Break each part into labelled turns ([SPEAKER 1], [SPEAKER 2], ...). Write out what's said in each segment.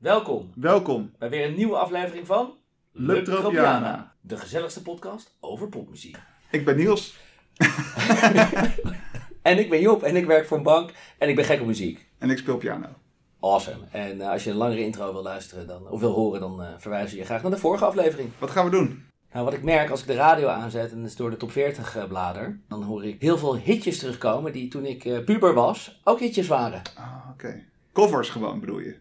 [SPEAKER 1] Welkom
[SPEAKER 2] Welkom.
[SPEAKER 1] bij weer een nieuwe aflevering van
[SPEAKER 2] Lub Tropiana.
[SPEAKER 1] de gezelligste podcast over popmuziek.
[SPEAKER 2] Ik ben Niels
[SPEAKER 1] En ik ben Job en ik werk voor een bank en ik ben gek op muziek.
[SPEAKER 2] en ik speel piano.
[SPEAKER 1] Awesome. En eh, als je een langere intro wil luisteren dan, of wil horen, dan eh, verwijzen we je graag naar de vorige aflevering.
[SPEAKER 2] Wat gaan we doen?
[SPEAKER 1] Nou, wat ik merk als ik de radio aanzet en dus door de top 40 eh, blader, dan hoor ik heel veel hitjes terugkomen die toen ik eh, puber was ook hitjes waren.
[SPEAKER 2] Ah, oké. Covers gewoon bedoel je.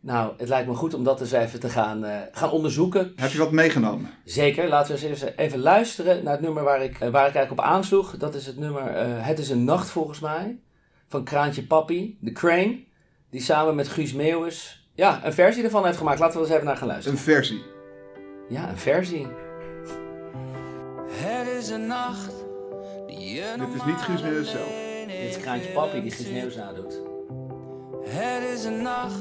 [SPEAKER 1] Nou, het lijkt me goed om dat eens even te gaan, eh, gaan onderzoeken.
[SPEAKER 2] Heb je wat meegenomen?
[SPEAKER 1] Zeker, laten we eens even- even luisteren naar het nummer waar ik, eh, waar ik eigenlijk op aansloeg. Dat is het nummer eh, Het is een Nacht volgens mij. Van Kraantje Papi, The Crane. Die samen met Guus Meeuwis ja, een versie ervan heeft gemaakt. Laten we er eens even naar gaan luisteren.
[SPEAKER 2] Een versie.
[SPEAKER 1] Ja, een versie.
[SPEAKER 3] Het is een nacht die je
[SPEAKER 2] Dit is niet Guus Meeuwis zelf.
[SPEAKER 1] Dit is Kraantje Papi die Guus Meeuwis nadoet.
[SPEAKER 3] Het is een nacht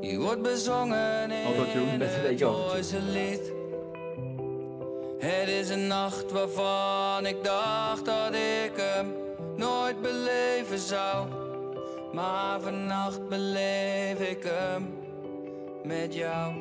[SPEAKER 3] die wordt bezongen in
[SPEAKER 2] Autotune.
[SPEAKER 1] Met een beetje overtune.
[SPEAKER 3] onze lied. Het is een nacht waarvan ik dacht dat ik hem nooit beleven zou. Maar vannacht beleef ik hem met jou.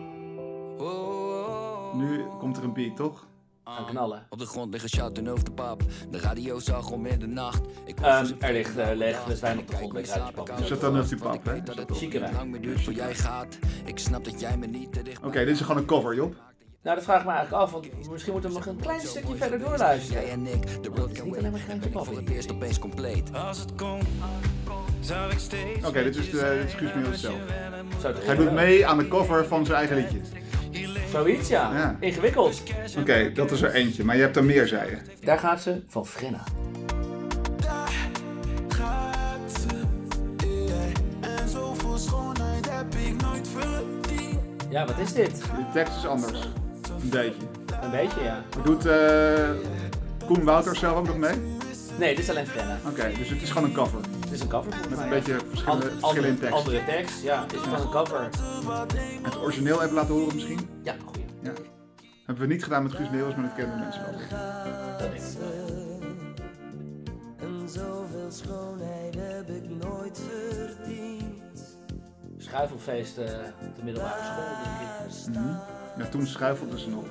[SPEAKER 3] Oh, oh, oh.
[SPEAKER 2] Nu komt er een beat, toch?
[SPEAKER 1] Gaan knallen.
[SPEAKER 3] Op de grond liggen shouten over de pap. De radio zag om middernacht. Ik
[SPEAKER 1] Ehm, er ligt, eh, leeg fles wijn op de grond bij Kruidje Pap.
[SPEAKER 2] Zet dan over die pap, hè?
[SPEAKER 3] Dat
[SPEAKER 2] Oké,
[SPEAKER 3] het
[SPEAKER 1] Chique
[SPEAKER 3] niet
[SPEAKER 1] wijn.
[SPEAKER 3] lang meer duurt voor jij gaat. Ik snap dat jij me niet te dicht
[SPEAKER 2] dit is gewoon een cover, joh.
[SPEAKER 1] Nou, dat vraag ik me eigenlijk af, want misschien moeten we nog een klein stukje verder
[SPEAKER 3] Jij
[SPEAKER 1] doorluisteren.
[SPEAKER 3] en ik, de road can
[SPEAKER 1] niet alleen maar
[SPEAKER 3] wait.
[SPEAKER 1] Kraantje
[SPEAKER 3] En ben ik
[SPEAKER 1] Pap,
[SPEAKER 3] voor het
[SPEAKER 1] hè?
[SPEAKER 3] eerst opeens compleet.
[SPEAKER 4] Als het kon, zou ik steeds.
[SPEAKER 2] Oké, dit is, de, dit is Guus Meeuwis zelf.
[SPEAKER 1] Zou het
[SPEAKER 2] Hij doet mee aan de cover van zijn eigen liedje.
[SPEAKER 1] Zoiets, ja.
[SPEAKER 2] Ja.
[SPEAKER 1] Ingewikkeld.
[SPEAKER 2] Oké, dat is er eentje, maar je hebt er meer, zei je.
[SPEAKER 1] Daar gaat ze van Frenna.
[SPEAKER 4] Gaat ze, yeah. En zoveel schoonheid heb ik nooit verdiend.
[SPEAKER 1] Ja, wat is dit?
[SPEAKER 2] De tekst is anders. Een beetje.
[SPEAKER 1] Een beetje, ja.
[SPEAKER 2] Doet eh, Koen Wouters zelf ook nog mee? Oké,
[SPEAKER 1] Nee, dit is alleen Frenna.
[SPEAKER 2] dus het is gewoon een cover.
[SPEAKER 1] Het is een cover volgens
[SPEAKER 2] Met
[SPEAKER 1] mij,
[SPEAKER 2] een
[SPEAKER 1] ja.
[SPEAKER 2] beetje verschillende,
[SPEAKER 1] Ander-
[SPEAKER 2] verschillende
[SPEAKER 1] andere,
[SPEAKER 2] teksten.
[SPEAKER 1] andere tekst, ja. Het is gewoon een cover.
[SPEAKER 2] Het origineel even laten horen misschien?
[SPEAKER 1] Ja, goeie.
[SPEAKER 2] Ja. Hebben we niet gedaan met Guus Meeuwis, maar dat kennen mensen wel.
[SPEAKER 1] Dat is het.
[SPEAKER 3] En zoveel schoonheid heb ik nooit verdiend.
[SPEAKER 1] Schuifelfeest eh, op de middelbare school, denk ik.
[SPEAKER 2] Mhm. Ja, toen schuifelden ze nog.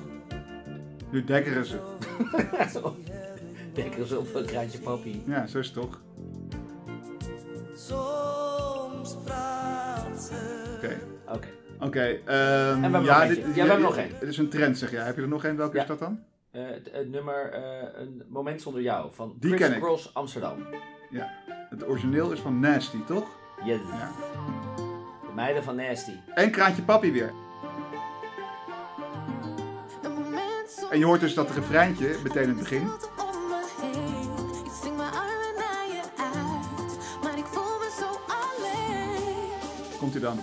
[SPEAKER 2] Nu dekkeren ze.
[SPEAKER 1] Denk eens op een kraantje papi.
[SPEAKER 2] Ja, zo is het toch?
[SPEAKER 3] Soms praat ze.
[SPEAKER 2] Oké.
[SPEAKER 1] Oké.
[SPEAKER 2] Oké. ehm,
[SPEAKER 1] hebben nog
[SPEAKER 2] ja,
[SPEAKER 1] eentje.
[SPEAKER 2] dit,
[SPEAKER 1] Ja, we hebben nog één.
[SPEAKER 2] Het is een trend, zeg jij. Heb je er nog één? Welke
[SPEAKER 1] Ja.
[SPEAKER 2] is dat dan?
[SPEAKER 1] Eh, het, het nummer eh, Een Moment Zonder Jou van
[SPEAKER 2] Die
[SPEAKER 1] Chris
[SPEAKER 2] ken ik.
[SPEAKER 1] Cross Amsterdam.
[SPEAKER 2] Ja. Het origineel is van Nasty, toch?
[SPEAKER 1] Yes.
[SPEAKER 2] Ja.
[SPEAKER 1] De meiden van Nasty.
[SPEAKER 2] En Kraantje Papi weer. En je hoort dus dat refreintje meteen in het begin.
[SPEAKER 5] Ik zing mijn armen naar je uit, maar ik voel me zo alleen.
[SPEAKER 2] Komt hij dan.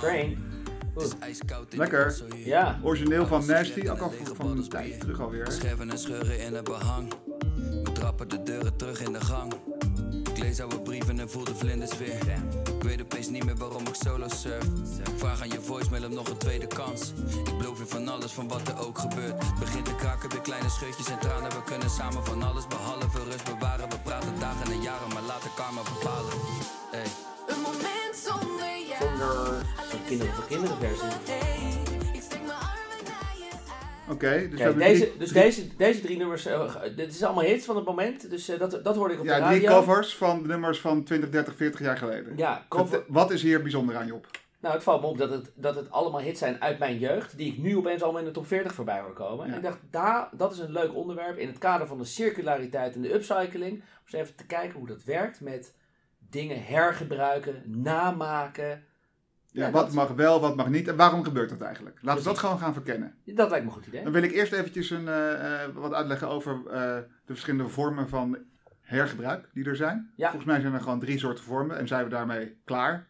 [SPEAKER 1] Crane. Oeh,
[SPEAKER 3] Ijskoud in
[SPEAKER 2] Lekker.
[SPEAKER 1] Ja.
[SPEAKER 2] Origineel van Nasty, ook al van een tijd terug alweer.
[SPEAKER 3] Scherven en scheuren in het behang. We trappen de deuren terug in de gang. Ik lees oude brieven en voel de vlinders weer. Ik weet opeens niet meer waarom ik solo surf. Ik vraag aan je voicemail om nog een tweede kans. Ik beloof je van alles, van wat er ook gebeurt. Het Begint te kraken, weer kleine scheutjes en tranen. We kunnen samen van alles behalve rust bewaren. We praten dagen en jaren, maar laten karma bepalen. Hey.
[SPEAKER 5] Een moment zonder jou.
[SPEAKER 1] Zonder zo'n kinderen voor kinderen versie.
[SPEAKER 5] Ik zing mijn armen naar je
[SPEAKER 2] Oké, dus, we
[SPEAKER 1] Kijk,
[SPEAKER 2] hebben
[SPEAKER 1] deze,
[SPEAKER 2] drie-
[SPEAKER 1] dus
[SPEAKER 2] drie-
[SPEAKER 1] deze, deze drie nummers, eh, dit is allemaal hits van het moment, dus eh, dat, dat hoorde ik op de
[SPEAKER 2] ja,
[SPEAKER 1] radio.
[SPEAKER 2] drie covers van de nummers van 20, 30, 40 jaar geleden.
[SPEAKER 1] Ja, cover,
[SPEAKER 2] Wat- Wat is hier bijzonder aan, Job?
[SPEAKER 1] Nou, het valt me op dat het, dat het allemaal hits zijn uit mijn jeugd, die ik nu opeens allemaal in de top 40 voorbij hoor komen.
[SPEAKER 2] Ja.
[SPEAKER 1] En ik dacht, daar, dat is een leuk onderwerp in het kader van de circulariteit en de upcycling. Om eens even te kijken hoe dat werkt met dingen hergebruiken, namaken.
[SPEAKER 2] Ja,
[SPEAKER 1] Ja,
[SPEAKER 2] wat
[SPEAKER 1] dat-
[SPEAKER 2] mag wel, wat mag niet en waarom gebeurt dat eigenlijk? Laten we dat gewoon gaan verkennen.
[SPEAKER 1] Dat lijkt me een goed idee.
[SPEAKER 2] Dan wil ik eerst eventjes een, eh, eh, wat uitleggen over eh, de verschillende vormen van hergebruik die er zijn.
[SPEAKER 1] Ja.
[SPEAKER 2] Volgens mij zijn er gewoon drie soorten vormen en zijn we daarmee klaar.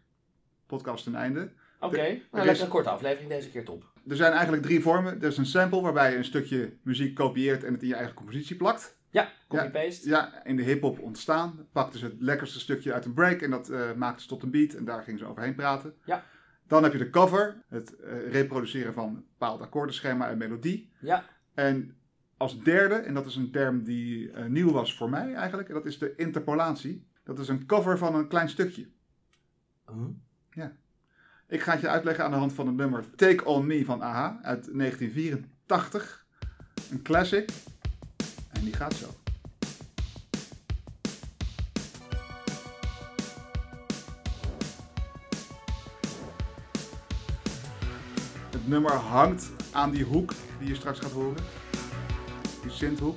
[SPEAKER 2] Podcast ten einde.
[SPEAKER 1] Oké,
[SPEAKER 2] er
[SPEAKER 1] nou,
[SPEAKER 2] is-
[SPEAKER 1] lekker een korte aflevering deze keer top.
[SPEAKER 2] Er zijn eigenlijk drie vormen. Er is een sample waarbij je een stukje muziek kopieert en het in je eigen compositie plakt.
[SPEAKER 1] Ja, copy-paste.
[SPEAKER 2] Ja, in de hip-hop ontstaan. Pakten ze het lekkerste stukje uit een break en dat eh maakten ze tot een beat en daar gingen ze overheen praten.
[SPEAKER 1] Ja.
[SPEAKER 2] Dan heb je de cover, het eh, reproduceren van een bepaald akkoordenschema en melodie.
[SPEAKER 1] Ja,
[SPEAKER 2] En als derde, en dat is een term die eh, nieuw was voor mij eigenlijk, dat is de interpolatie. Dat is een cover van een klein stukje.
[SPEAKER 1] Mhm.
[SPEAKER 2] Ja. Ik ga het je uitleggen aan de hand van het nummer Take On Me van AHA uit 1984. Een classic. En die gaat zo. Het nummer hangt aan die hoek die je straks gaat horen. Die synthhoek.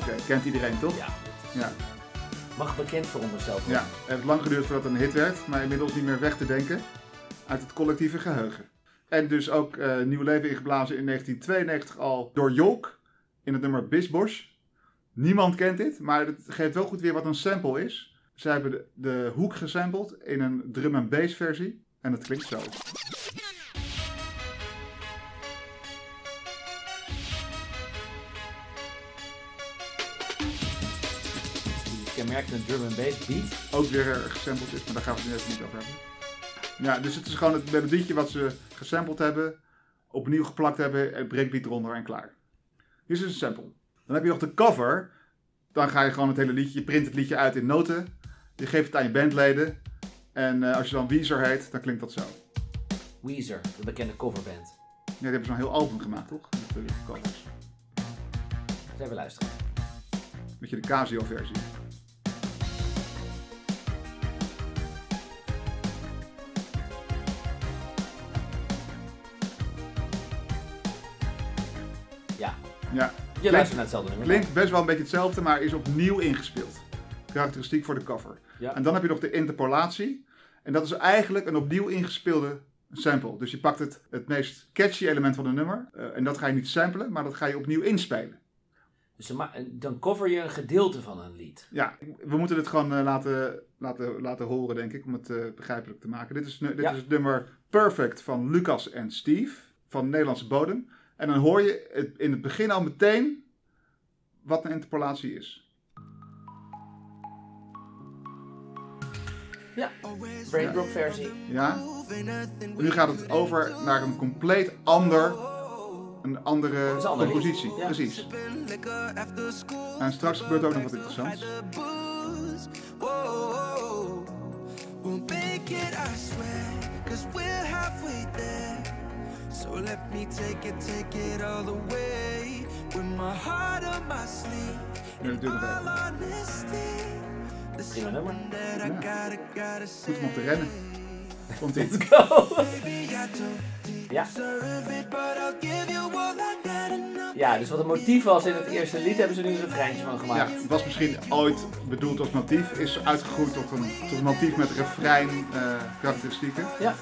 [SPEAKER 2] Oké, kent iedereen toch?
[SPEAKER 1] Ja,
[SPEAKER 2] ja.
[SPEAKER 1] mag bekend voor onszelf.
[SPEAKER 2] Ja, het heeft lang geduurd voordat het een hit werd, maar inmiddels niet meer weg te denken uit het collectieve geheugen. En dus ook eh, nieuw leven ingeblazen in 1992 al door Jolk in het nummer Bisbosch. Niemand kent dit, maar het geeft wel goed weer wat een sample is. Ze hebben de, de hoek gesampled in een drum and bass versie en het klinkt zo.
[SPEAKER 1] dus Die kenmerkende drum and bass beat.
[SPEAKER 2] Ook weer eh, gesampled is, maar daar gaan we het nu even niet over hebben. Ja, dus het is gewoon het melodietje wat ze gesampled hebben, opnieuw geplakt hebben, en breakbeat eronder en klaar. Hier is een sample. Dan heb je nog de cover. Dan ga je gewoon het hele liedje, je print het liedje uit in noten. Je geeft het aan je bandleden. En eh, als je dan Weezer heet, dan klinkt dat zo.
[SPEAKER 1] Weezer, de bekende coverband.
[SPEAKER 2] Ja, die hebben zo'n heel album gemaakt, toch? Met de covers.
[SPEAKER 1] Laten we even luisteren.
[SPEAKER 2] Met je de Casio-versie.
[SPEAKER 1] Ja,
[SPEAKER 2] Ja,
[SPEAKER 1] je luistert naar hetzelfde nummer.
[SPEAKER 2] Klinkt best wel een beetje hetzelfde, maar is opnieuw ingespeeld. Karakteristiek voor de cover.
[SPEAKER 1] Ja.
[SPEAKER 2] En dan heb je nog de interpolatie. En dat is eigenlijk een opnieuw ingespeelde sample. Dus je pakt het, het meest catchy element van een nummer. eh, en dat ga je niet samplen, maar dat ga je opnieuw inspelen.
[SPEAKER 1] Dus dan ma- dan cover je een gedeelte van een lied.
[SPEAKER 2] Ja, we moeten dit gewoon eh, laten, laten, laten horen, denk ik, om het eh, begrijpelijk te maken. Dit, is, nu- dit
[SPEAKER 1] Ja.
[SPEAKER 2] is het nummer Perfect van Lucas en Steve van Nederlandse bodem. En dan hoor je het, in het begin al meteen wat een interpolatie is.
[SPEAKER 1] Ja, Braindrop versie.
[SPEAKER 2] Ja? Nu gaat het over naar een compleet ander, een andere
[SPEAKER 1] is een ander
[SPEAKER 2] compositie.
[SPEAKER 1] lied. Ja.
[SPEAKER 2] Precies. En straks gebeurt ook nog wat interessants.
[SPEAKER 4] booze. Whoa, we'll make it, I swear, cause we're halfway there. So let me take it, take it all the way. With my heart on my sleeve,
[SPEAKER 2] Nu natuurlijk nog even.
[SPEAKER 4] honesty. There's
[SPEAKER 1] Prima nummer.
[SPEAKER 4] something that I
[SPEAKER 2] Ja.
[SPEAKER 4] gotta, gotta say.
[SPEAKER 2] Goed om op te rennen. Komt dit.
[SPEAKER 4] Maybe I don't
[SPEAKER 1] Ja.
[SPEAKER 4] deserve it, but I'll give you all I got and nothing.
[SPEAKER 1] ja, dus wat het motief was in het eerste lied, hebben ze nu een refreintje van
[SPEAKER 2] Ja,
[SPEAKER 1] gemaakt.
[SPEAKER 2] het was misschien ooit bedoeld als motief, is uitgegroeid tot een, tot een motief met refrein eh, karakteristieken.
[SPEAKER 1] Ja.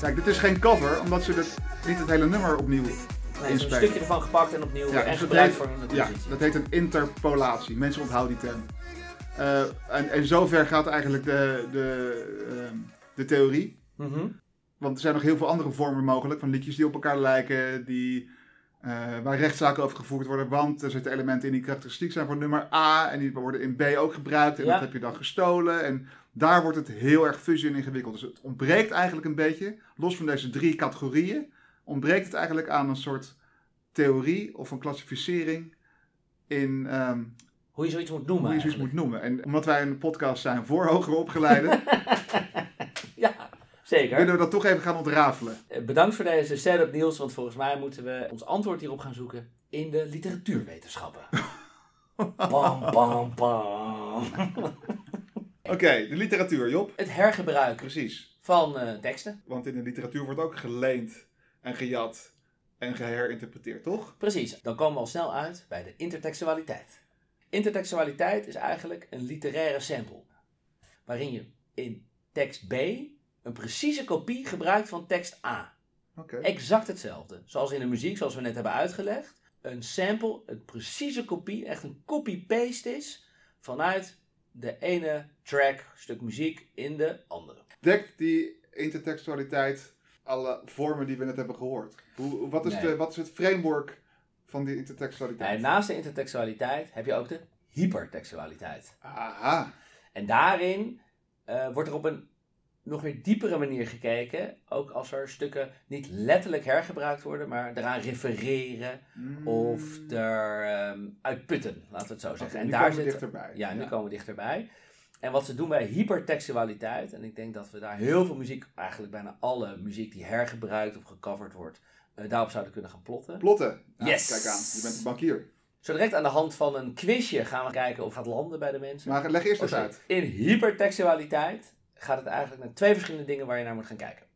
[SPEAKER 2] Kijk, dit is geen cover, omdat ze dit, niet het hele nummer opnieuw
[SPEAKER 1] Nee, ze hebben een
[SPEAKER 2] inspelen.
[SPEAKER 1] stukje ervan gepakt en opnieuw
[SPEAKER 2] Ja,
[SPEAKER 1] en
[SPEAKER 2] dus dat
[SPEAKER 1] gebruikt
[SPEAKER 2] heet-
[SPEAKER 1] voor hun
[SPEAKER 2] ja,
[SPEAKER 1] compositie.
[SPEAKER 2] dat heet een interpolatie. Mensen onthouden die term. Eh, en, en zover gaat eigenlijk de, de, ehm, de theorie.
[SPEAKER 1] Mhm.
[SPEAKER 2] Want er zijn nog heel veel andere vormen mogelijk van liedjes die op elkaar lijken, die, eh, waar rechtszaken over gevoerd worden. Want er zitten elementen in die karakteristiek zijn voor nummer A en die worden in B ook gebruikt. En
[SPEAKER 1] Ja.
[SPEAKER 2] dat heb je dan gestolen. En daar wordt het heel erg fuzzy en ingewikkeld. Dus het ontbreekt eigenlijk een beetje, los van deze drie categorieën, ontbreekt het eigenlijk aan een soort theorie of een klassificering in ehm,
[SPEAKER 1] Hoe je zoiets moet noemen.
[SPEAKER 2] hoe je zoiets moet
[SPEAKER 1] eigenlijk.
[SPEAKER 2] noemen. En omdat wij een podcast zijn voor hoger opgeleiden,
[SPEAKER 1] Ja, zeker.
[SPEAKER 2] willen we dat toch even gaan ontrafelen.
[SPEAKER 1] Eh, Bedankt voor deze setup, Niels. Want volgens mij moeten we ons antwoord hierop gaan zoeken in de literatuurwetenschappen. bam, bam, bam.
[SPEAKER 2] Oké, de literatuur, Job.
[SPEAKER 1] Het hergebruik
[SPEAKER 2] Precies.
[SPEAKER 1] van eh, teksten.
[SPEAKER 2] Want in de literatuur wordt ook geleend en gejat en geherinterpreteerd, toch?
[SPEAKER 1] Precies, dan komen we al snel uit bij de intertextualiteit. Intertextualiteit is eigenlijk een literaire sample, waarin je in tekst B een precieze kopie gebruikt van tekst A.
[SPEAKER 2] Oké.
[SPEAKER 1] Exact hetzelfde. Zoals in de muziek, zoals we net hebben uitgelegd. Een sample, een precieze kopie, echt een copy-paste is vanuit de ene track, stuk muziek, in de andere.
[SPEAKER 2] Dekt die intertextualiteit alle vormen die we net hebben gehoord? Hoe, wat, is
[SPEAKER 1] Nee.
[SPEAKER 2] de, wat is het framework van die
[SPEAKER 1] Nou, en
[SPEAKER 2] intertextualiteit?
[SPEAKER 1] naast de intertextualiteit heb je ook de hypertextualiteit.
[SPEAKER 2] Aha.
[SPEAKER 1] En daarin eh, wordt er op een nog weer diepere manier gekeken. Ook als er stukken niet letterlijk hergebruikt worden, maar eraan refereren
[SPEAKER 2] Hmm.
[SPEAKER 1] of er ehm, uitputten, laten we het zo zeggen.
[SPEAKER 2] Oké, nu
[SPEAKER 1] Oh, en daar
[SPEAKER 2] komen we
[SPEAKER 1] zit,
[SPEAKER 2] dichterbij.
[SPEAKER 1] Ja, nu
[SPEAKER 2] Ja.
[SPEAKER 1] komen we dichterbij. En wat ze doen bij hypertextualiteit, en ik denk dat we daar heel veel muziek, eigenlijk bijna alle muziek die hergebruikt of gecoverd wordt, eh, daarop zouden kunnen gaan plotten.
[SPEAKER 2] Plotten. Nou,
[SPEAKER 1] Yes.
[SPEAKER 2] Kijk aan, je bent een bankier.
[SPEAKER 1] Zo direct aan de hand van een quizje gaan we kijken of het gaat landen bij de mensen.
[SPEAKER 2] Maar leg eerst eens
[SPEAKER 1] Oké,
[SPEAKER 2] uit.
[SPEAKER 1] In hypertextualiteit gaat het eigenlijk naar twee verschillende dingen waar je naar moet gaan kijken.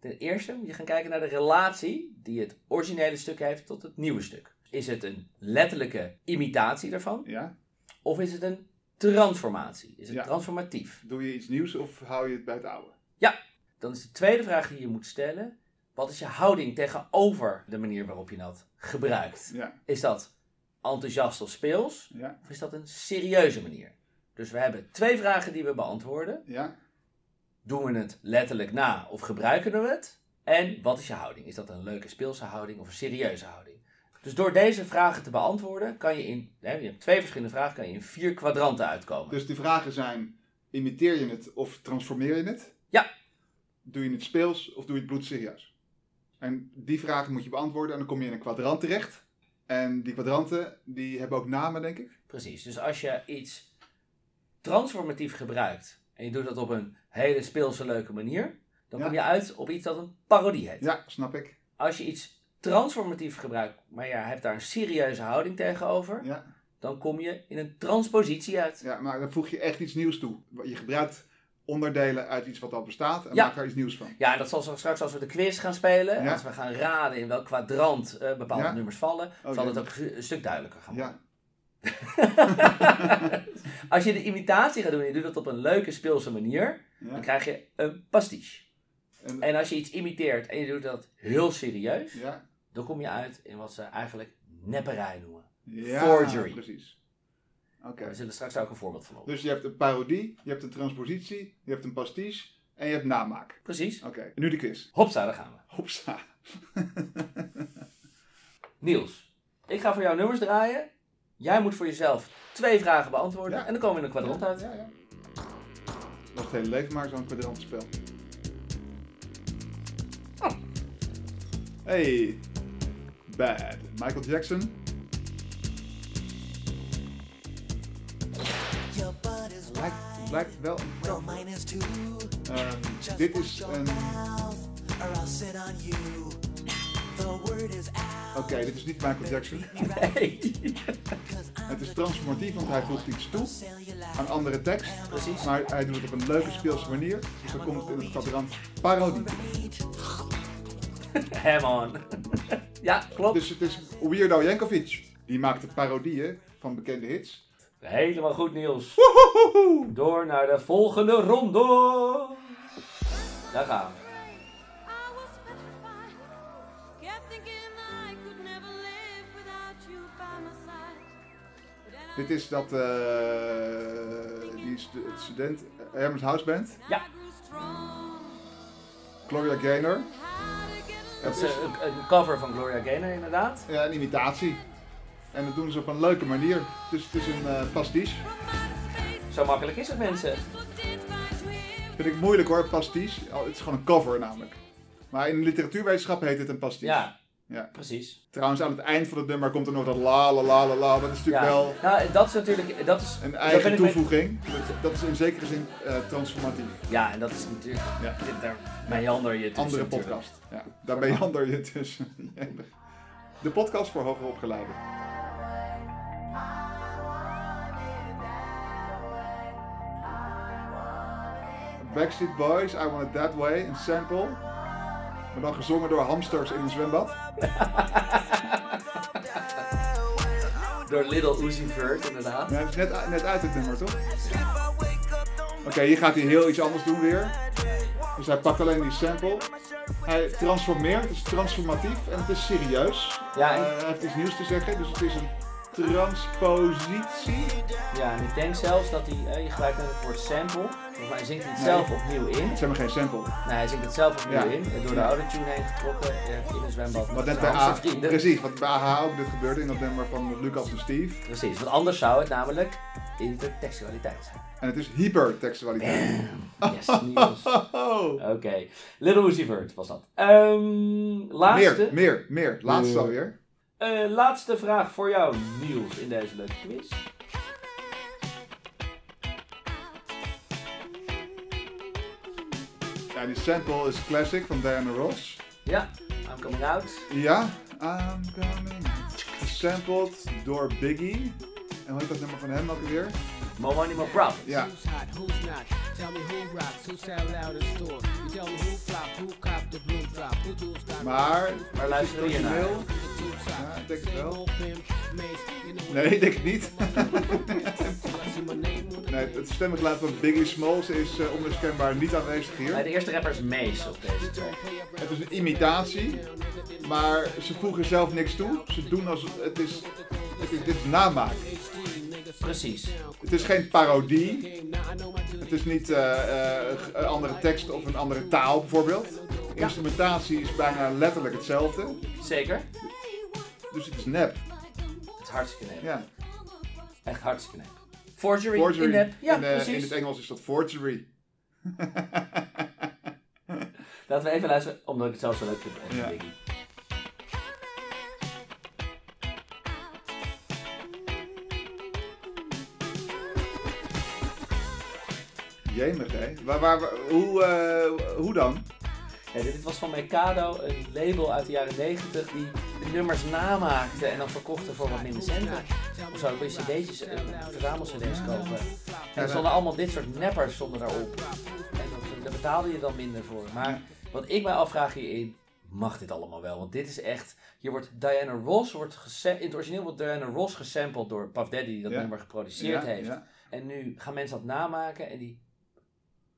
[SPEAKER 1] Ten eerste moet je gaan kijken naar de relatie die het originele stuk heeft tot het nieuwe stuk. Is het een letterlijke imitatie daarvan
[SPEAKER 2] Ja?
[SPEAKER 1] of is het een transformatie? Is het
[SPEAKER 2] Ja.
[SPEAKER 1] transformatief?
[SPEAKER 2] Doe je iets nieuws of hou je het bij het oude?
[SPEAKER 1] Dan is de tweede vraag die je moet stellen, wat is je houding tegenover de manier waarop je dat gebruikt?
[SPEAKER 2] Ja.
[SPEAKER 1] Is dat enthousiast of speels?
[SPEAKER 2] Ja?
[SPEAKER 1] Of is dat een serieuze manier? Dus we hebben twee vragen die we beantwoorden.
[SPEAKER 2] Ja?
[SPEAKER 1] Doen we het letterlijk na of gebruiken we het? En wat is je houding? Is dat een leuke speelse houding of een serieuze houding? Dus door deze vragen te beantwoorden, kan je in, hè, je hebt twee verschillende vragen, kan je in vier kwadranten uitkomen.
[SPEAKER 2] Dus de vragen zijn, imiteer je het of transformeer je het?
[SPEAKER 1] Ja.
[SPEAKER 2] Doe je het speels of doe je het bloedserieus? En die vragen moet je beantwoorden en dan kom je in een kwadrant terecht. En die kwadranten, die hebben ook namen, denk ik.
[SPEAKER 1] Precies. Dus als je iets transformatief gebruikt en je doet dat op een hele speelse leuke manier, dan
[SPEAKER 2] Ja.
[SPEAKER 1] kom je uit op iets dat een parodie heet.
[SPEAKER 2] Ja, snap ik.
[SPEAKER 1] Als je iets transformatief gebruikt, maar je hebt daar een serieuze houding tegenover,
[SPEAKER 2] Ja,
[SPEAKER 1] dan kom je in een transpositie uit.
[SPEAKER 2] ja maar dan voeg je echt iets nieuws toe. Je gebruikt onderdelen uit iets wat al bestaat en
[SPEAKER 1] Ja.
[SPEAKER 2] maakt daar iets nieuws van.
[SPEAKER 1] Ja, en dat zal zo- straks als we de quiz gaan spelen,
[SPEAKER 2] Ja.
[SPEAKER 1] als we gaan raden in welk kwadrant eh, bepaalde
[SPEAKER 2] Ja.
[SPEAKER 1] nummers vallen, zal
[SPEAKER 2] ja.
[SPEAKER 1] het ook een een stuk duidelijker gaan worden.
[SPEAKER 2] Ja,
[SPEAKER 1] Als je de imitatie gaat doen en je doet dat op een leuke speelse manier,
[SPEAKER 2] ja.
[SPEAKER 1] dan krijg je een pastiche.
[SPEAKER 2] En-
[SPEAKER 1] En als je iets imiteert en je doet dat heel serieus,
[SPEAKER 2] ja.
[SPEAKER 1] dan kom je uit in wat ze eigenlijk nepperij noemen.
[SPEAKER 2] ja
[SPEAKER 1] Forgery.
[SPEAKER 2] precies. Oké.
[SPEAKER 1] We zullen straks daar ook een voorbeeld van op.
[SPEAKER 2] Dus je hebt een parodie, je hebt een transpositie, je hebt een pastiche en je hebt namaak.
[SPEAKER 1] Precies.
[SPEAKER 2] Oké, nu de quiz.
[SPEAKER 1] Hopsa, daar gaan we.
[SPEAKER 2] Hopsa.
[SPEAKER 1] Niels, ik ga voor jou nummers draaien. Jij moet voor jezelf twee vragen beantwoorden
[SPEAKER 2] Ja.
[SPEAKER 1] en dan komen we in een kwadrant uit.
[SPEAKER 2] Ja, ja. Dat was het hele leven maar zo'n kwadrantspel. Oh. Hey. Bad. Michael Jackson.
[SPEAKER 6] Your butt is
[SPEAKER 2] Lijkt, lijkt wel.
[SPEAKER 6] well, mine is too.
[SPEAKER 2] eh,
[SPEAKER 6] Just
[SPEAKER 2] dit is
[SPEAKER 6] watch your
[SPEAKER 2] een.
[SPEAKER 6] mouth, or I'll sit on you. The word is out.
[SPEAKER 2] Oké, dit is niet Michael Jackson.
[SPEAKER 6] Treat me right,
[SPEAKER 1] Hey.
[SPEAKER 6] 'cause I'm
[SPEAKER 2] Het is
[SPEAKER 6] the
[SPEAKER 2] transformatief, want hij voegt iets toe aan
[SPEAKER 6] cellulite.
[SPEAKER 2] andere tekst. Maar hij doet het op een leuke speelse manier. Dus dan komt het in het kwadrant parodie.
[SPEAKER 1] Ham on. ja, klopt.
[SPEAKER 2] Dus het is Weirdo Jankovic. Die maakte parodieën van bekende hits.
[SPEAKER 1] Helemaal goed, Niels. Door naar de volgende ronde. Daar gaan we.
[SPEAKER 5] I was petrified. Kept thinking that I could never live without you by my side. But then I
[SPEAKER 2] Dit is dat eh, die stu- het student eh, Hermes House Band,
[SPEAKER 1] Ja,
[SPEAKER 5] grew strong.
[SPEAKER 2] Gloria Gaynor.
[SPEAKER 5] How to get along.
[SPEAKER 2] Het
[SPEAKER 1] dat is
[SPEAKER 2] is
[SPEAKER 1] eh, een, een cover van Gloria Gaynor inderdaad.
[SPEAKER 2] ja, een imitatie. En dat doen ze op een leuke manier. Dus het is een eh pastiche.
[SPEAKER 5] From outer space,
[SPEAKER 1] Zo makkelijk is het, mensen.
[SPEAKER 5] what did find you here?
[SPEAKER 2] Vind ik moeilijk hoor, pastiche. Al, Het is gewoon een cover namelijk. Maar in de literatuurwetenschap heet het een pastiche.
[SPEAKER 1] Ja,
[SPEAKER 2] Ja.
[SPEAKER 1] precies.
[SPEAKER 2] Trouwens, aan het eind van het nummer komt er nog dat la la la la la. Dat is natuurlijk
[SPEAKER 1] Ja.
[SPEAKER 2] wel
[SPEAKER 1] Nou, dat is natuurlijk... Dat is,
[SPEAKER 2] een
[SPEAKER 1] daar
[SPEAKER 2] eigen
[SPEAKER 1] ben ik mee-
[SPEAKER 2] toevoeging. Dat- Dat is in zekere zin eh, transformatief.
[SPEAKER 1] Ja, en dat is natuurlijk...
[SPEAKER 2] Ja.
[SPEAKER 1] Dit, daar meander je tussen
[SPEAKER 2] Andere
[SPEAKER 1] natuurlijk.
[SPEAKER 2] podcast. Ja, daar ben je ander je tussen. De podcast voor hoger opgeleiden. Backstreet Boys, I Want It That Way, een sample. Maar dan gezongen door hamsters in een zwembad.
[SPEAKER 1] Door Little Uzi Vert inderdaad.
[SPEAKER 2] Ja, het is net, net uit het nummer, toch? Oké, hier gaat hij heel iets anders doen weer. Dus hij pakt alleen die sample. Hij transformeert, het is transformatief en het is serieus.
[SPEAKER 1] Ja,
[SPEAKER 2] Eh, hij heeft iets nieuws te zeggen, dus het is een transpositie.
[SPEAKER 1] Ja, en ik denk zelfs dat hij... eh, je gebruikt net het woord sample. Volgens mij zingt hij het zelf opnieuw in.
[SPEAKER 2] Het zijn maar geen sample.
[SPEAKER 1] Nee, hij zingt het zelf opnieuw
[SPEAKER 2] Ja.
[SPEAKER 1] in. eh, Door de oude tune heen getrokken eh, in een zwembad.
[SPEAKER 2] Wat net bij
[SPEAKER 1] zijn
[SPEAKER 2] A,
[SPEAKER 1] vrienden.
[SPEAKER 2] precies, wat bij AH ook dit gebeurde in dat nummer van Lucas en Steve.
[SPEAKER 1] Precies, want anders zou het namelijk intertextualiteit.
[SPEAKER 2] En het is hypertextualiteit.
[SPEAKER 1] Yes, Niels. Oké.
[SPEAKER 2] Oh.
[SPEAKER 1] Little Uzi Vert was dat. Ehm, laatste,
[SPEAKER 2] Meer, meer, meer. Laatste alweer.
[SPEAKER 1] Eh, laatste vraag voor jou, Niels, in deze leuke quiz.
[SPEAKER 2] Ja, die sample is classic van Diana Ross.
[SPEAKER 1] Ja, I'm coming out.
[SPEAKER 2] Ja, I'm coming. Gesampled door Biggie. En hoe heet dat nummer van hem ook weer?
[SPEAKER 1] More money, more problems.
[SPEAKER 2] Ja,
[SPEAKER 7] Who's hot, who's not? Tell me who rocks, who sell out in store. You tell me who flop, who cop the blue drop, who do stop.
[SPEAKER 2] maar...
[SPEAKER 1] Maar luister je naar?
[SPEAKER 2] origineel? Ja, ik denk het wel. Nee, ik denk het niet. nee, het stemgeluid van Biggie Smalls is eh, onmiskenbaar niet aanwezig
[SPEAKER 1] Bij
[SPEAKER 2] hier.
[SPEAKER 1] de eerste rapper is Mace op deze track.
[SPEAKER 2] Het is een imitatie, maar ze voegen zelf niks toe. Ze doen als... Het is, het is, dit is namaak.
[SPEAKER 1] Precies.
[SPEAKER 2] Het is geen parodie. Het is niet eh, eh, een andere tekst of een andere taal bijvoorbeeld. De instrumentatie is bijna letterlijk hetzelfde.
[SPEAKER 1] Zeker.
[SPEAKER 2] Dus het is nep.
[SPEAKER 1] Het is hartstikke nep.
[SPEAKER 2] Ja.
[SPEAKER 1] Echt hartstikke nep. Forgery,
[SPEAKER 2] Forgery.
[SPEAKER 1] in nep. Ja,
[SPEAKER 2] in, eh, in
[SPEAKER 1] precies.
[SPEAKER 2] het Engels is dat forgery.
[SPEAKER 1] Laten we even luisteren, omdat ik het zelf zo leuk vind. eh,
[SPEAKER 2] Ja.
[SPEAKER 1] Biggie.
[SPEAKER 2] Jemig, hè? Waar, waar, waar- hoe, eh, hoe dan?
[SPEAKER 1] Ja, dit was van Mercado, een label uit de jaren 90 die de nummers namaakte en dan verkochten voor wat minder centen. Of zo, kun je cd'tjes, eh, verzamelcd's kopen. En er stonden allemaal dit soort neppers stonden daarop. En dat- daar betaalde je dan minder voor. Maar wat ik mij afvraag hierin, mag dit allemaal wel? Want dit is echt, hier wordt Diana Ross, wordt gesa- in het origineel wordt Diana Ross gesampled door Puff Daddy die dat
[SPEAKER 2] Ja.
[SPEAKER 1] nummer geproduceerd
[SPEAKER 2] Ja,
[SPEAKER 1] heeft.
[SPEAKER 2] ja.
[SPEAKER 1] En nu gaan mensen dat namaken en die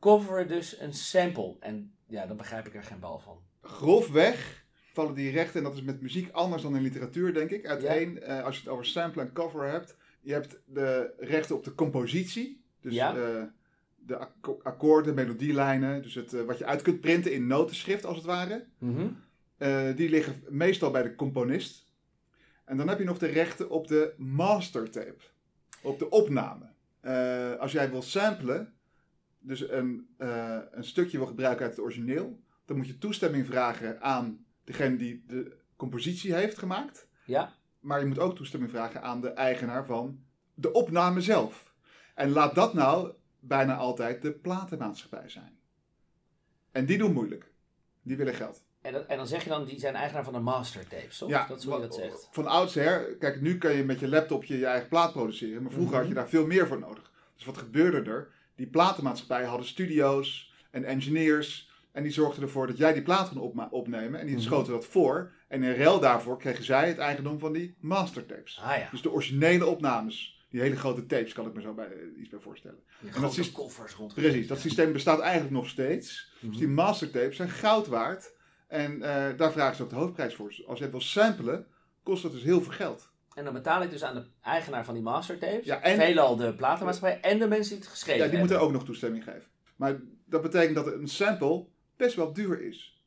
[SPEAKER 1] coveren dus een sample. En ja, dan begrijp ik er geen bal van.
[SPEAKER 2] Grofweg vallen die rechten, en dat is met muziek anders dan in literatuur, denk ik, uiteen. Eh, als je het over sample en cover hebt. Je hebt de rechten op de compositie. Dus
[SPEAKER 1] Ja.
[SPEAKER 2] eh, de akko- akkoorden, melodielijnen. Dus het, eh, wat je uit kunt printen in notenschrift, als het ware. Eh, die liggen meestal bij de componist. En dan heb je nog de rechten op de mastertape, op de opname. Eh, als jij wil samplen, dus een, eh, een stukje wil gebruiken uit het origineel, dan moet je toestemming vragen aan degene die de compositie heeft gemaakt.
[SPEAKER 1] Ja,
[SPEAKER 2] Maar je moet ook toestemming vragen aan de eigenaar van de opname zelf. En laat dat nou bijna altijd de platenmaatschappij zijn. En die doen moeilijk. Die willen geld.
[SPEAKER 1] en, dat, en dan zeg je dan, die zijn eigenaar van de mastertapes, toch? dat is hoe je dat zegt.
[SPEAKER 2] Van oudsher, kijk, nu kan je met je laptopje je eigen plaat produceren, maar vroeger
[SPEAKER 1] Mhm.
[SPEAKER 2] had je daar veel meer voor nodig. Dus wat gebeurde er? Die platenmaatschappijen hadden studio's en engineers en die zorgden ervoor dat jij die plaat kon opma- opnemen en die
[SPEAKER 1] Mhm.
[SPEAKER 2] schoten dat voor. En in ruil daarvoor kregen zij het eigendom van die mastertapes.
[SPEAKER 1] Ah ja,
[SPEAKER 2] Dus de originele opnames, die hele grote tapes, kan ik me zo bij, eh, iets bij voorstellen.
[SPEAKER 1] die
[SPEAKER 2] en dat
[SPEAKER 1] grote
[SPEAKER 2] is-
[SPEAKER 1] koffers rond.
[SPEAKER 2] Precies, dat systeem bestaat eigenlijk nog steeds. Dus die mastertapes zijn goud waard. En eh, daar vragen ze ook de hoofdprijs voor. Dus Als je het wil samplen, kost dat dus heel veel geld.
[SPEAKER 1] En dan betaal ik dus aan de eigenaar van die mastertapes,
[SPEAKER 2] Ja, en-
[SPEAKER 1] veelal de platenmaatschappij en de mensen die het geschreven
[SPEAKER 2] Ja, die
[SPEAKER 1] hebben.
[SPEAKER 2] moeten ook nog toestemming geven. Maar dat betekent dat een sample best wel duur is.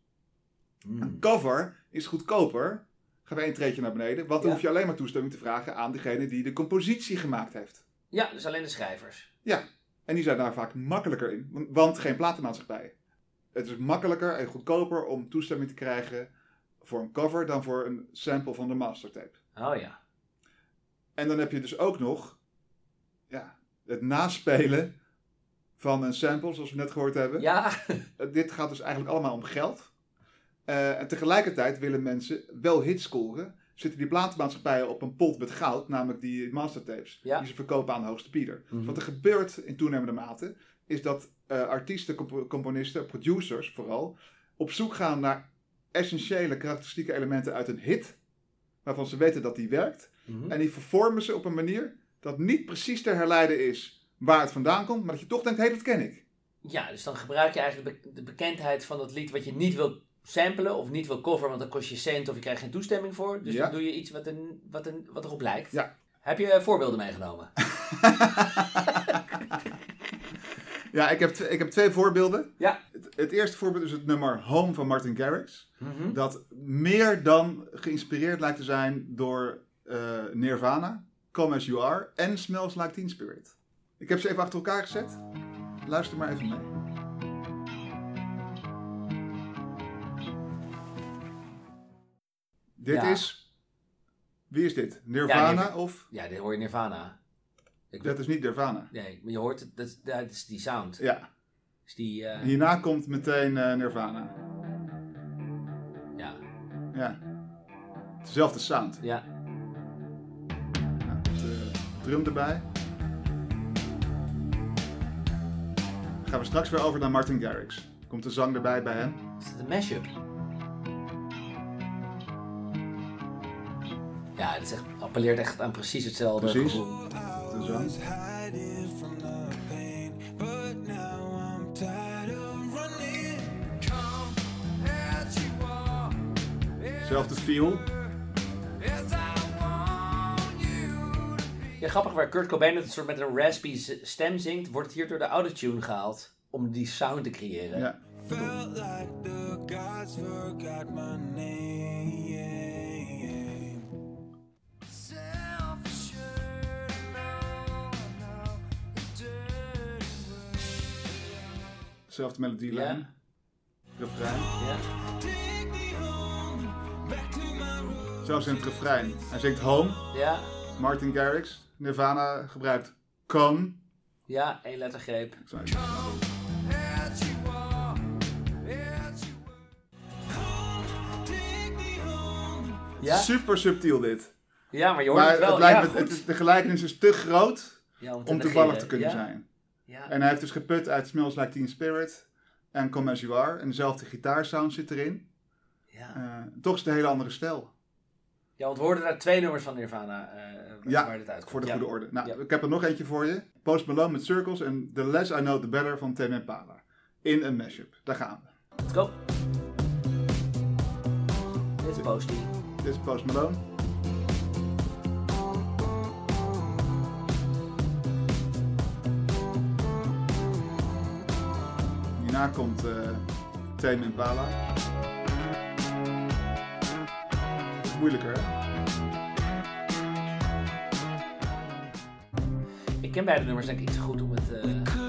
[SPEAKER 2] Een cover is goedkoper. Ga we één treetje naar beneden. Want dan
[SPEAKER 1] Ja.
[SPEAKER 2] hoef je alleen maar toestemming te vragen aan degene die de compositie gemaakt heeft.
[SPEAKER 1] Ja, dus alleen de schrijvers.
[SPEAKER 2] Ja, en die zijn daar vaak makkelijker in, want- want geen platenmaatschappij. Het is makkelijker en goedkoper om toestemming te krijgen voor een cover dan voor een sample van de mastertape.
[SPEAKER 1] Oh ja.
[SPEAKER 2] En dan heb je dus ook nog ja, het naspelen van een sample, zoals we net gehoord hebben.
[SPEAKER 1] Ja,
[SPEAKER 2] Eh, Dit gaat dus eigenlijk allemaal om geld. Eh, en tegelijkertijd willen mensen wel hits scoren. Zitten die platenmaatschappijen op een pot met goud, namelijk die mastertapes,
[SPEAKER 1] Ja.
[SPEAKER 2] die ze verkopen aan de hoogste bieder. Wat er gebeurt in toenemende mate, is dat eh, artiesten, comp- componisten, producers vooral, op zoek gaan naar essentiële karakteristieke elementen uit een hit, waarvan ze weten dat die werkt. En die vervormen ze op een manier dat niet precies te herleiden is waar het vandaan komt, maar dat je toch denkt, hé, dat ken ik.
[SPEAKER 1] ja, dus dan gebruik je eigenlijk de be- de bekendheid van dat lied wat je niet wil samplen of niet wil coveren, want dan kost je cent of je krijgt geen toestemming voor. Dus
[SPEAKER 2] Ja.
[SPEAKER 1] dan doe je iets wat, een, wat, een, wat erop lijkt.
[SPEAKER 2] Ja.
[SPEAKER 1] Heb je eh, voorbeelden meegenomen?
[SPEAKER 2] Ja, ik heb, tw- ik heb twee voorbeelden.
[SPEAKER 1] Ja.
[SPEAKER 2] Het, het eerste voorbeeld is het nummer Home van Martin Garrix.
[SPEAKER 1] Mhm.
[SPEAKER 2] Dat meer dan geïnspireerd lijkt te zijn door eh, Nirvana, Come As You Are en Smells Like Teen Spirit. Ik heb ze even achter elkaar gezet. Luister maar even mee. Dit
[SPEAKER 1] Ja.
[SPEAKER 2] is. Wie is dit? Nirvana
[SPEAKER 1] Ja,
[SPEAKER 2] of.
[SPEAKER 1] Ja, dit hoor je Nirvana. Ik,
[SPEAKER 2] Dat is niet Nirvana.
[SPEAKER 1] Nee, maar je hoort het, dat, dat is die sound.
[SPEAKER 2] Ja.
[SPEAKER 1] Is die, eh,
[SPEAKER 2] Hierna komt meteen eh, Nirvana.
[SPEAKER 1] ja.
[SPEAKER 2] Ja. Dezelfde sound.
[SPEAKER 1] ja.
[SPEAKER 2] Ja, met, eh, drum erbij. Gaan we straks weer over naar Martin Garrix. Komt de zang erbij bij hem?
[SPEAKER 1] Is het een mashup? Ja, het is echt, appelleert echt aan precies hetzelfde
[SPEAKER 2] Precies.
[SPEAKER 1] gevoel.
[SPEAKER 2] De zang.
[SPEAKER 4] hiding from the pain, but now I'm tired of running. Come as you are,
[SPEAKER 2] Zelfde feel.
[SPEAKER 4] as I want you.
[SPEAKER 1] Ja, grappig waar Kurt Cobain het soort met een raspy z- stem zingt, wordt hier door de autotune gehaald om die sound te creëren.
[SPEAKER 2] Ja.
[SPEAKER 4] Felt like the gods forgot my name. Self-assured, no, no, it's dirty
[SPEAKER 2] Zelfde melodielijn.
[SPEAKER 1] Ja.
[SPEAKER 2] Refrein.
[SPEAKER 1] Ja.
[SPEAKER 4] Take me home, back to my roots.
[SPEAKER 2] Zelfs in het refrein. Hij zingt Home.
[SPEAKER 1] ja.
[SPEAKER 2] Martin Garrix. Nirvana gebruikt Come.
[SPEAKER 1] Ja, één lettergreep.
[SPEAKER 2] Ik zou even-
[SPEAKER 4] As you are, as you were. Home, take me home.
[SPEAKER 1] Ja,
[SPEAKER 2] Super subtiel dit.
[SPEAKER 1] ja maar je hoort
[SPEAKER 2] Maar
[SPEAKER 1] het wel.
[SPEAKER 2] het lijkt
[SPEAKER 1] ja,
[SPEAKER 2] me, het
[SPEAKER 1] goed.
[SPEAKER 2] is- de gelijkenis is te groot
[SPEAKER 1] Ja, om
[SPEAKER 2] om
[SPEAKER 1] negeren.
[SPEAKER 2] toevallig te kunnen
[SPEAKER 1] Ja,
[SPEAKER 2] zijn.
[SPEAKER 1] Ja.
[SPEAKER 2] En hij heeft dus geput uit Smells Like Teen Spirit en Come As You Are. En dezelfde gitaarsound zit erin.
[SPEAKER 1] ja.
[SPEAKER 2] Eh, toch is het een hele andere stijl.
[SPEAKER 1] ja, want we hoorden daar twee nummers van Nirvana eh,
[SPEAKER 2] Ja,
[SPEAKER 1] waar dit uitkomt.
[SPEAKER 2] Voor de
[SPEAKER 1] ja.
[SPEAKER 2] goede orde. Nou,
[SPEAKER 1] Ja.
[SPEAKER 2] ik heb er nog eentje voor je. Post Malone met Circles en The Less I Know The Better van Tame Impala. In een mashup. Daar gaan we.
[SPEAKER 1] Let's go. Dit is postie.
[SPEAKER 2] Dit is Post Malone. Hierna komt eh Tame Impala. Dat is moeilijker, hè?
[SPEAKER 1] Ik ken beide nummers denk ik iets goed om het... eh, het is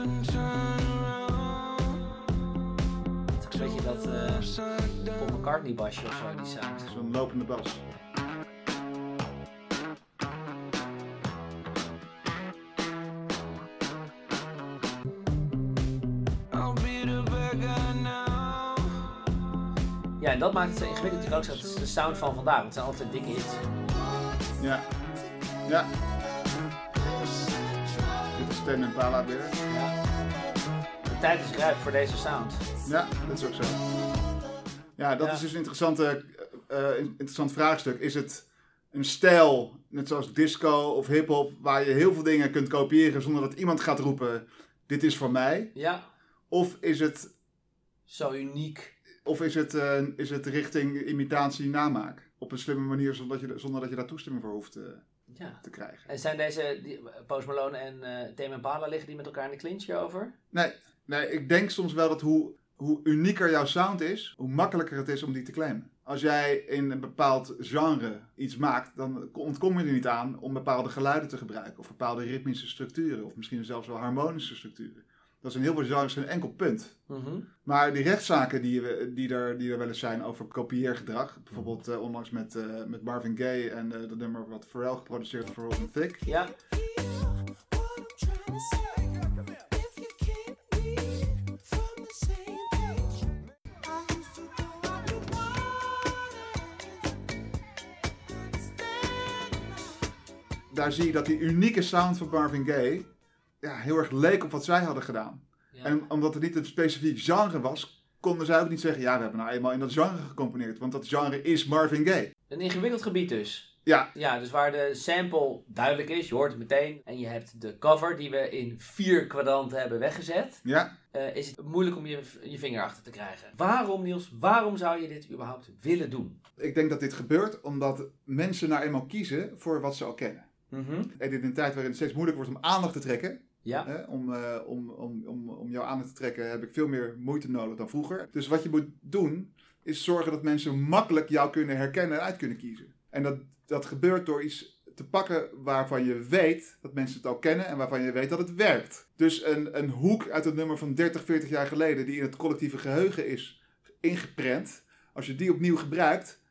[SPEAKER 1] een beetje dat eh Paul McCartney basje of zo, die sound.
[SPEAKER 2] Zo'n lopende bas.
[SPEAKER 4] I'll be the bad guy now.
[SPEAKER 1] Ja, en dat maakt het zo ingewikkeld natuurlijk ook zo. Het is de sound van vandaag. Het zijn altijd dikke hits.
[SPEAKER 2] Ja. Ja. Dit is Tame Impala weer.
[SPEAKER 1] Ja. De tijd is rijp voor deze sound.
[SPEAKER 2] Ja, dat is ook zo. Ja, dat
[SPEAKER 1] Ja.
[SPEAKER 2] is dus een interessante, eh, eh, interessant vraagstuk. Is het een stijl, net zoals disco of hip-hop, waar je heel veel dingen kunt kopiëren zonder dat iemand gaat roepen: Dit is van mij?
[SPEAKER 1] Ja,
[SPEAKER 2] Of is het,
[SPEAKER 1] zo uniek.
[SPEAKER 2] of is het, eh, is het richting imitatie-namaak? Op een slimme manier, zonder dat je, zonder dat je daar toestemming voor hoeft eh,
[SPEAKER 1] Ja.
[SPEAKER 2] te krijgen.
[SPEAKER 1] En zijn deze, die, Post Malone en eh Tame Impala, liggen die met elkaar in de clinch hierover?
[SPEAKER 2] Nee, nee, ik denk soms wel dat hoe, hoe unieker jouw sound is, hoe makkelijker het is om die te claimen. Als jij in een bepaald genre iets maakt, dan ontkom je er niet aan om bepaalde geluiden te gebruiken. Of bepaalde ritmische structuren, of misschien zelfs wel harmonische structuren. Dat is in heel veel genres een enkel punt.
[SPEAKER 1] Mhm.
[SPEAKER 2] Maar die rechtszaken die, we- die, er, die er wel eens zijn over kopieergedrag, bijvoorbeeld eh, onlangs met, eh, met Marvin Gaye en eh, dat nummer wat Pharrell geproduceerd heeft voor Robin Thicke.
[SPEAKER 1] Ja,
[SPEAKER 2] daar zie je dat die unieke sound van Marvin Gaye ja, heel erg leek op wat zij hadden gedaan.
[SPEAKER 1] Ja.
[SPEAKER 2] En omdat het niet een specifiek genre was, konden zij ook niet zeggen: ja, we hebben nou eenmaal in dat genre gecomponeerd, want dat genre is Marvin Gaye.
[SPEAKER 1] een ingewikkeld gebied dus.
[SPEAKER 2] Ja,
[SPEAKER 1] Ja, dus waar de sample duidelijk is, je hoort het meteen. En je hebt de cover die we in vier kwadranten hebben weggezet.
[SPEAKER 2] ja,
[SPEAKER 1] eh, is het moeilijk om je, je vinger achter te krijgen. Waarom Niels, waarom zou je dit überhaupt willen doen?
[SPEAKER 2] ik denk dat dit gebeurt omdat mensen nou eenmaal kiezen voor wat ze al kennen. En dit in een tijd waarin het steeds moeilijker wordt om aandacht te trekken,
[SPEAKER 1] Ja,
[SPEAKER 2] Hè, om, eh, om, om, om, om jouw aandacht te trekken heb ik veel meer moeite nodig dan vroeger. Dus wat je moet doen, is zorgen dat mensen makkelijk jou kunnen herkennen en uit kunnen kiezen. En dat, dat gebeurt door iets te pakken waarvan je weet dat mensen het al kennen en waarvan je weet dat het werkt. Dus een, een hoek uit het nummer van 30, 40 jaar geleden, die in het collectieve geheugen is ingeprent, als je die opnieuw gebruikt,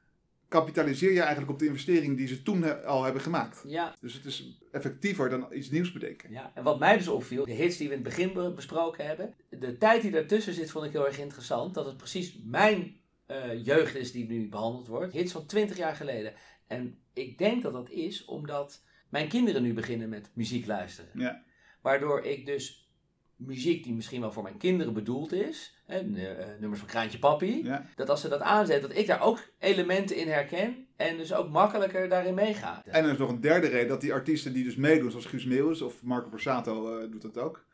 [SPEAKER 2] kapitaliseer je eigenlijk op de investering die ze toen he- al hebben gemaakt.
[SPEAKER 1] Ja.
[SPEAKER 2] Dus het is effectiever dan iets nieuws bedenken.
[SPEAKER 1] ja. En wat mij dus opviel, de hits die we in het begin be- besproken hebben, de tijd die daartussen zit vond ik heel erg interessant. Dat het precies mijn eh, jeugd is die nu behandeld wordt. Hits van 20 jaar geleden. En ik denk dat dat is omdat mijn kinderen nu beginnen met muziek luisteren.
[SPEAKER 2] Ja.
[SPEAKER 1] Waardoor ik dus muziek die misschien wel voor mijn kinderen bedoeld is, hè, n- eh, nummers van Kraantje Papi,
[SPEAKER 2] Ja.
[SPEAKER 1] dat als ze dat aanzetten, dat ik daar ook elementen in herken en dus ook makkelijker daarin meega.
[SPEAKER 2] En er is nog een derde reden dat die artiesten die dus meedoen, zoals Guus Meeuwis of Marco Borsato eh, doet dat ook,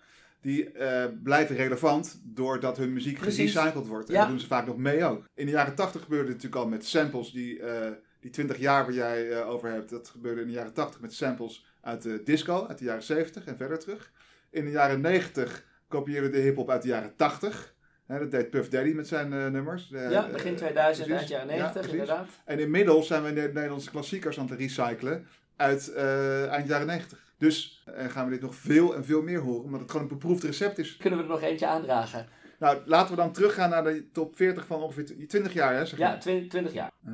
[SPEAKER 2] die eh, blijven relevant doordat hun muziek
[SPEAKER 1] Precies.
[SPEAKER 2] gerecycled wordt. En
[SPEAKER 1] Ja.
[SPEAKER 2] dat doen ze vaak nog mee ook. In de jaren 80 gebeurde het natuurlijk al met samples die, eh, die 20 jaar waar jij eh, over hebt, dat gebeurde in de jaren 80 met samples uit de disco, uit de jaren 70 en verder terug. In de jaren 90 kopieerde de hip-hop uit de jaren 80. Hè, dat deed Puff Daddy met zijn eh, nummers. Eh,
[SPEAKER 1] ja, begin
[SPEAKER 2] eh,
[SPEAKER 1] 2000,
[SPEAKER 2] precies.
[SPEAKER 1] eind jaren
[SPEAKER 2] Ja,
[SPEAKER 1] 90
[SPEAKER 2] precies.
[SPEAKER 1] inderdaad.
[SPEAKER 2] En inmiddels zijn we de Nederlandse klassiekers aan het recyclen uit eh, eind jaren 90. Dus eh, gaan we dit nog veel en veel meer horen, omdat het gewoon een beproefd recept is.
[SPEAKER 1] Kunnen we er nog eentje aandragen?
[SPEAKER 2] Nou, laten we dan teruggaan naar de top 40 van ongeveer tw- 20 jaar, hè? Zeg
[SPEAKER 1] Ja,
[SPEAKER 2] je.
[SPEAKER 1] 20, 20 jaar.
[SPEAKER 2] Eh,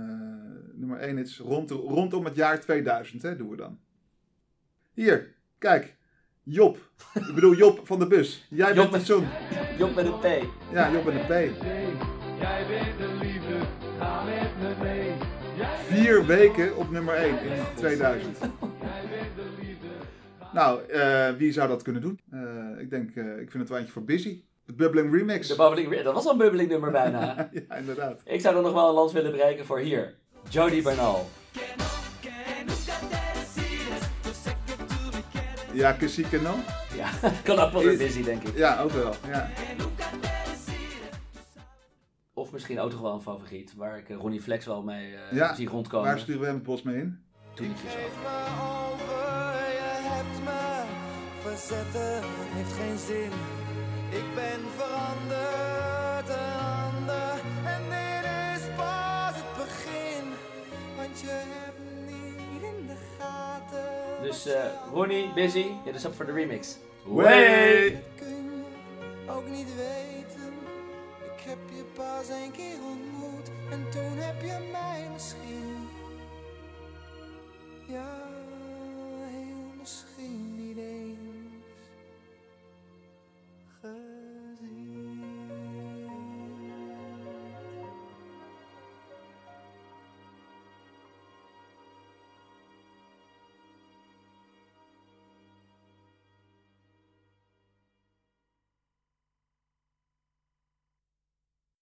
[SPEAKER 2] nummer 1 is rond, rondom het jaar 2000, hè, doen we dan. Hier, kijk. Job. Ik bedoel Job van de bus. Jij bent
[SPEAKER 1] met-
[SPEAKER 2] het zoon.
[SPEAKER 1] Job met een P.
[SPEAKER 2] Ja, Job en de P. Vier weken op nummer 1 in 2000. Nou, eh, wie zou dat kunnen doen? Eh, ik denk, eh, ik vind het wel eentje voor Busy. De Bubbling Remix.
[SPEAKER 1] De bubbeling, dat was al een bubbeling nummer bijna.
[SPEAKER 2] ja, inderdaad.
[SPEAKER 1] Ik zou er nog wel een lans willen breken voor hier. Jody Bernal.
[SPEAKER 2] Ja, Kissy Keno.
[SPEAKER 1] Ja, kan ook wel weer busy, denk ik.
[SPEAKER 2] Ja, ook wel. Ja.
[SPEAKER 1] Of misschien ook toch wel een favoriet, waar ik eh, Ronnie Flex wel mee eh,
[SPEAKER 2] Ja,
[SPEAKER 1] zie rondkomen.
[SPEAKER 2] Waar sturen we hem het bos mee in?
[SPEAKER 1] Toen ik je zag.
[SPEAKER 4] Maar over, je hebt me verzetten, heeft geen zin. Ik ben veranderd, een ander. En dit is pas het begin. Want je hebt me niet in de gaten.
[SPEAKER 1] Dus
[SPEAKER 5] uh,
[SPEAKER 1] eh, Ronnie, busy, dit is op voor de remix.
[SPEAKER 2] Way!
[SPEAKER 4] Dat kun je ook niet weten. Ik heb je pas een keer ontmoet en toen heb je mij.